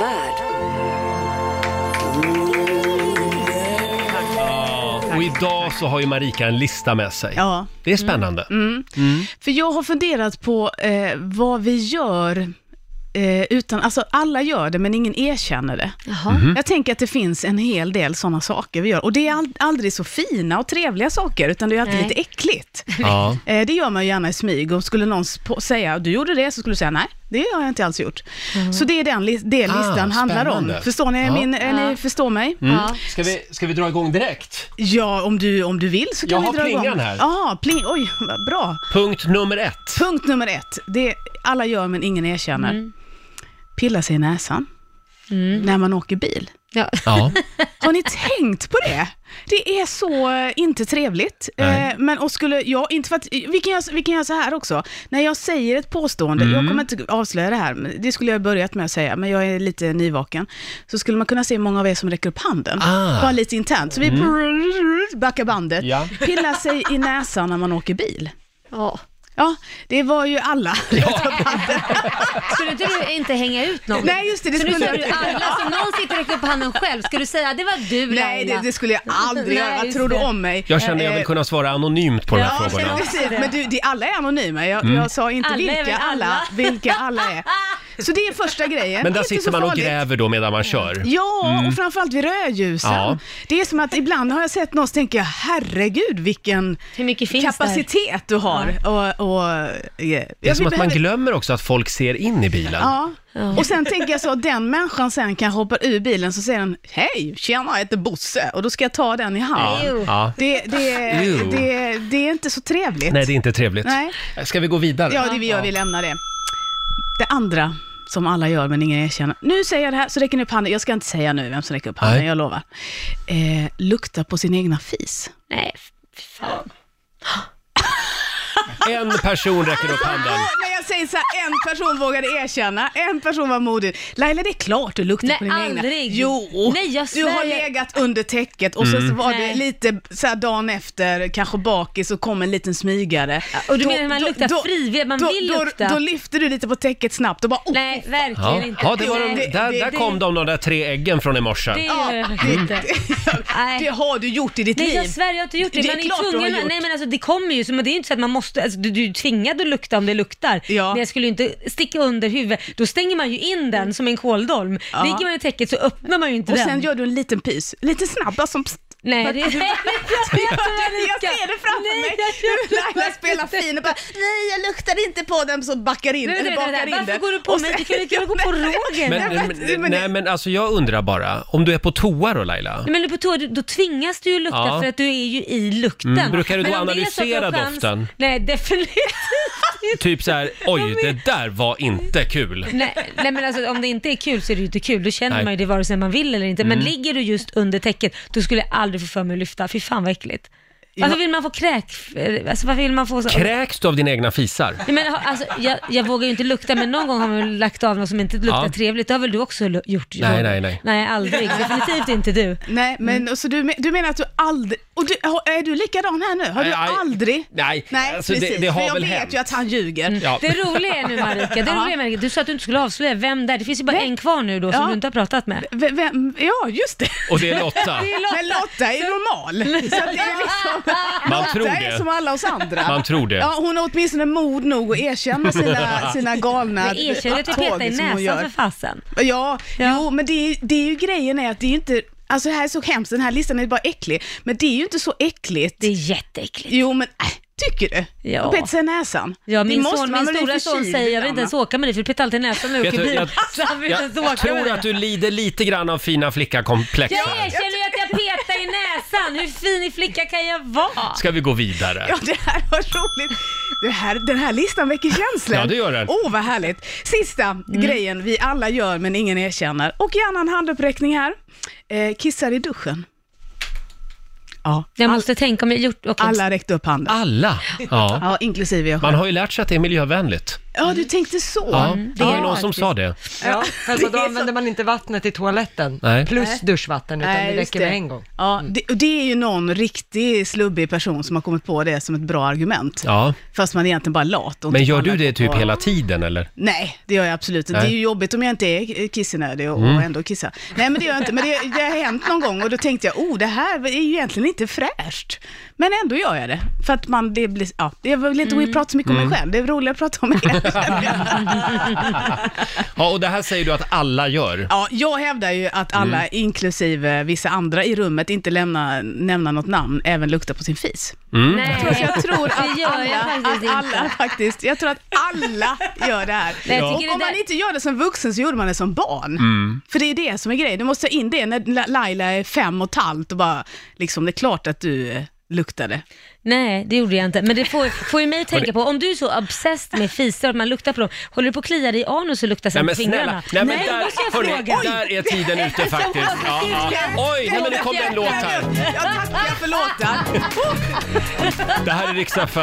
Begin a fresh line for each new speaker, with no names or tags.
värld.
Och idag så har ju Marika en lista med sig.
Ja. Mm.
Det är spännande.
För jag har funderat på eh, vad vi gör eh, utan, alltså alla gör det men ingen erkänner det.
Jaha.
Mhm.
Jag tänker att det finns en hel del sådana saker vi gör. Och det är all, aldrig så fina och trevliga saker, utan det är alltid
Nej.
lite äckligt.
Ja.
Eh, det gör man ju gärna i smyg och skulle någon sp- säga du gjorde det så skulle du säga nej, det har jag inte alls gjort.
Mm.
Så det är den li- det
Ah,
listan handlar om.
spännande.
Förstår ni,
Ja. Mm.
min, eh, ni
Ja.
förstår mig?
Ja.
Ska, vi, ska vi dra igång direkt?
Ja, om du, om du vill så
Jag
kan vi
har
dra igång.
plingan här.
Ja, pling, oj, vad bra.
Punkt nummer ett.
Punkt nummer ett, det alla gör men ingen erkänner. Pilla sig i näsan när man åker bil.
Ja.
Ja.
Har ni tänkt på det? Det är så eh, inte trevligt.
Nej.
Eh, men och skulle jag, inte för att, vi, kan göra, vi kan göra så här också. När jag säger ett påstående,
Mm.
jag kommer inte avslöja det här, men det skulle jag ha börjat med att säga, men jag är lite nyvaken. Så skulle man kunna se många av er som räcker upp handen,
Ah. Mm.
bara lite internt. Så vi prrrr, backar bandet.
Ja.
Pilla sig i näsan när man åker bil.
Ja.
Ja, det var ju alla.
Skulle inte du inte hänga ut någon?
Nej, just det, det
så nu
skulle
sa
jag
du
inte.
alla, så någon sitter och räcker upp handen själv. Ska du säga det var du
Nej, det,
Laila?
det skulle jag aldrig göra.
Nej,
Vad
just
tror du
det.
om mig?
Jag känner jag
Eh,
vill kunna svara anonymt på de här
Ja,
frågorna. Mm.
men precis. Men du, det, alla är anonyma. Jag, jag sa inte
Alla är väl
vilka alla,
alla.
vilka alla är. Så det är första grejen.
Men där
Inte
sitter
så
man och
farligt.
gräver då medan man kör.
Ja, och framförallt vid rödljusen.
Ja.
Det är som att ibland har jag sett någon så tänker jag, herregud vilken
Hur mycket finns
kapacitet du har. Och, och, eh,
Det är
jag
som att man
behöver-
glömmer också att folk ser in i bilen.
Ja. Och sen tänker jag så att den människan sen kan hoppa ur bilen så säger den Hej, tjena jag heter Bosse och då ska jag ta den i hand.
Ew.
Ja.
Det, det,
Ew.
det, det är inte så trevligt.
Nej, det är inte trevligt.
Nej.
Ska vi gå vidare?
Ja, det vi gör, vi lämnar det. Det andra som alla gör men ingen erkänner. Nu säger jag det här, så räcker ni upp handen. Jag ska inte säga nu vem som räcker upp handen,
Nej.
jag lovar. Eh, lukta på sin egna fis.
där? Nej, fy fan.
En person räcker upp handen.
Men jag säger så här, en person vågade erkänna, en person var modig. Laila, det är klart du luktar
Nej,
på din egna.
aldrig.
Jo!
Nej, jag
du har
svär.
legat under täcket och sen så var det
Nej.
lite så här dagen efter, kanske bakis, och kom en liten smygare.
och du menar att man luktar frivilligt, man
då,
vill
då,
lukta.
Då lyfter du lite på täcket snabbt och bara oh,
Nej, verkligen
Ja,
inte.
ja det var de,
Nej,
där,
det-
där
det-
kom de, de där tre äggen från i morse.
det
Ja,
gör jag
det-
verkligen inte.
Det
Nej.
har du gjort i ditt
Nej, jag
liv.
svär, jag har inte gjort det.
Det är
man
klart du har
är tvungen.
gjort.
Nej, men alltså det kommer ju, så, men det är ju inte så att man måste, alltså, du, du är tvingad att lukta om det luktar.
Ja.
Men jag skulle ju inte sticka under huvudet. Då stänger man ju in den som en kåldolm. Ligger man i täcket så öppnar man ju inte
Och
den.
sen gör du en liten pys, lite snabb, bara som pst.
Nej, det är
Jag ser det framför mig. Hur Laila spelar fin och bara, nej jag luktar inte på den, så backar in,
Nej,
eller
vänta,
bakar
vänta, vänta.
in
Varför
den.
går du på
Och
mig?
sen-
Du kan ju lika gärna gå på Roger.
Men,
Nej,
men,
men- men-
nej, men alltså jag undrar bara, om du är på toa då Laila?
Nej, Men på toa, du- då tvingas du ju lukta
Ja.
för att du är ju i lukten.
Mm, brukar du
Men
då
om det är så att du har
analysera
chans-
doften?
Nej, definitivt inte.
Typ så här, oj det där var inte kul.
Nej, nej men alltså om det inte är kul så är det ju inte kul. Då känner
Nej. Mm.
man ju det vare sig man vill eller inte. Men ligger du just under täcket, då skulle jag aldrig få för mig att lyfta. Fy fan vad äckligt. Varför vill man få kräk... Alltså varför vill man få så...
Kräks du av dina egna fisar?
Nej, men, ha- alltså, jag, jag vågar ju inte lukta, men någon gång har man väl lagt av något som inte luktar
Ja.
trevligt. Det har väl du också lu- gjort?
Nej,
Roger?
nej, nej.
Nej, aldrig. Definitivt inte du.
Nej, men
Mm.
så du, men- du menar att du aldrig, och du, har- är du likadan här nu? Har du
Nej,
aldrig?
nej,
nej
alltså, det-
precis,
det har
för jag
väl
vet
hänt.
ju att han ljuger.
Ja.
Det roliga är nu Marika, det
Ja.
roliga är, Marika, du sa att du inte skulle avslöja vem det är. Det finns ju bara
Nej.
en kvar nu då som
Ja.
du inte har pratat med.
V- vem, ja, just det.
Och det är Lotta.
Det är Lotta.
Men Lotta är normal. Så att det är liksom,
Man tror
Lotta är
det.
som alla oss andra.
Man tror det.
Ja, hon har åtminstone mod nog att erkänna sina, sina galna
Men erkänn att du
tåg
petar i
som hon
näsan för
gör.
fasen.
Ja, jo, men det är, det är ju grejen är att det är ju inte, alltså det här är så hemskt, den här listan är bara äcklig, men det är ju inte så äckligt.
Det är jätteäckligt.
Jo, men äh, tycker du?
Ja.
Och peta sig i näsan.
Ja,
Det
min
måste
son,
man väl
min
i och
stora
för
son
sig
säger jag vill
ibland,
inte ens
va?
åka med dig för du petar alltid i näsan när jag
Vet
åker
du,
bil.
jag-
Så
Alltså,
han vill inte ens
Jag
åka med
tror
dig.
att du lider lite grann av fina flicka-komplex
Jag
här.
erkänner ju att jag petar i näsan. Hur fin i flicka kan jag vara?
Ska vi gå vidare?
Ja, det här var roligt. Det här, den här listan väcker känslor.
Ja, det gör den.
Åh, oh, vad härligt. Sista
Mm.
grejen vi alla gör, men ingen erkänner. Och gärna en handuppräckning här. Eh, kissar i duschen. Ja,
Jag måste tänka om jag gjort... okej. Ah.
alla räckte upp handen.
Alla! Ja.
Ja, inklusive jag själv.
Man har ju lärt sig att det är miljövänligt.
Ja, du tänkte så.
Ja,
Mm,
det var
det
ju någon
är
som
faktiskt.
sa det.
Ja,
det
för
är
då
så.
använder man inte vattnet i toaletten
Nej.
plus
Nej.
duschvatten, utan
Nej,
det
just
räcker med en gång.
Ja, det, och det är ju någon riktig slubbig person som har kommit på det som ett bra argument.
Ja.
Fast man är egentligen bara lat. och
Men
inte
gör
kollar
du det
på-
typ hela tiden eller?
Nej, det gör jag absolut inte.
Nej.
Det är ju jobbigt om jag inte är kissnödig och, och ändå kissar. Nej, men det gör jag inte. Men det, det har hänt någon gång och då tänkte jag, oh, det här är ju egentligen inte fräscht. Men ändå gör jag det. För att man, det blir, ja, jag vill inte mm. prata så mycket om mig själv. Det är roligare att prata om mig själv.
Ja, och det här säger du att alla gör.
ja, jag hävdar ju att alla, inklusive vissa andra i rummet, inte lämna, nämna något namn, även luktar på sin fis.
Nej,
Mm. Jag tror att
det gör
alla,
jag faktiskt
att alla
inte.
faktiskt, jag tror att alla gör det här.
Nej, jag
Och
tycker
om
det där-
man inte gör det som vuxen så gjorde man det som barn.
Mm.
För det är det som är grejen, du måste ta in det när La- Laila är fem och ett halvt och bara, liksom det är klart att du eh, luktade.
Nej, det gjorde jag inte. Men det får, får ju mig att tänka på, om du är så obsessed med fisar att man luktar på dem, håller du på att klia dig i anus och luktar
Nej
sen på
men
fingrarna?
snälla, nej men
Nej,
där,
måste jag
hörni,
fråga.
där är tiden ute faktiskt. Ja, ja. Oj, nej men nu kom det en låt här.
Jag tackar för låten.
Det här är riksdag 5.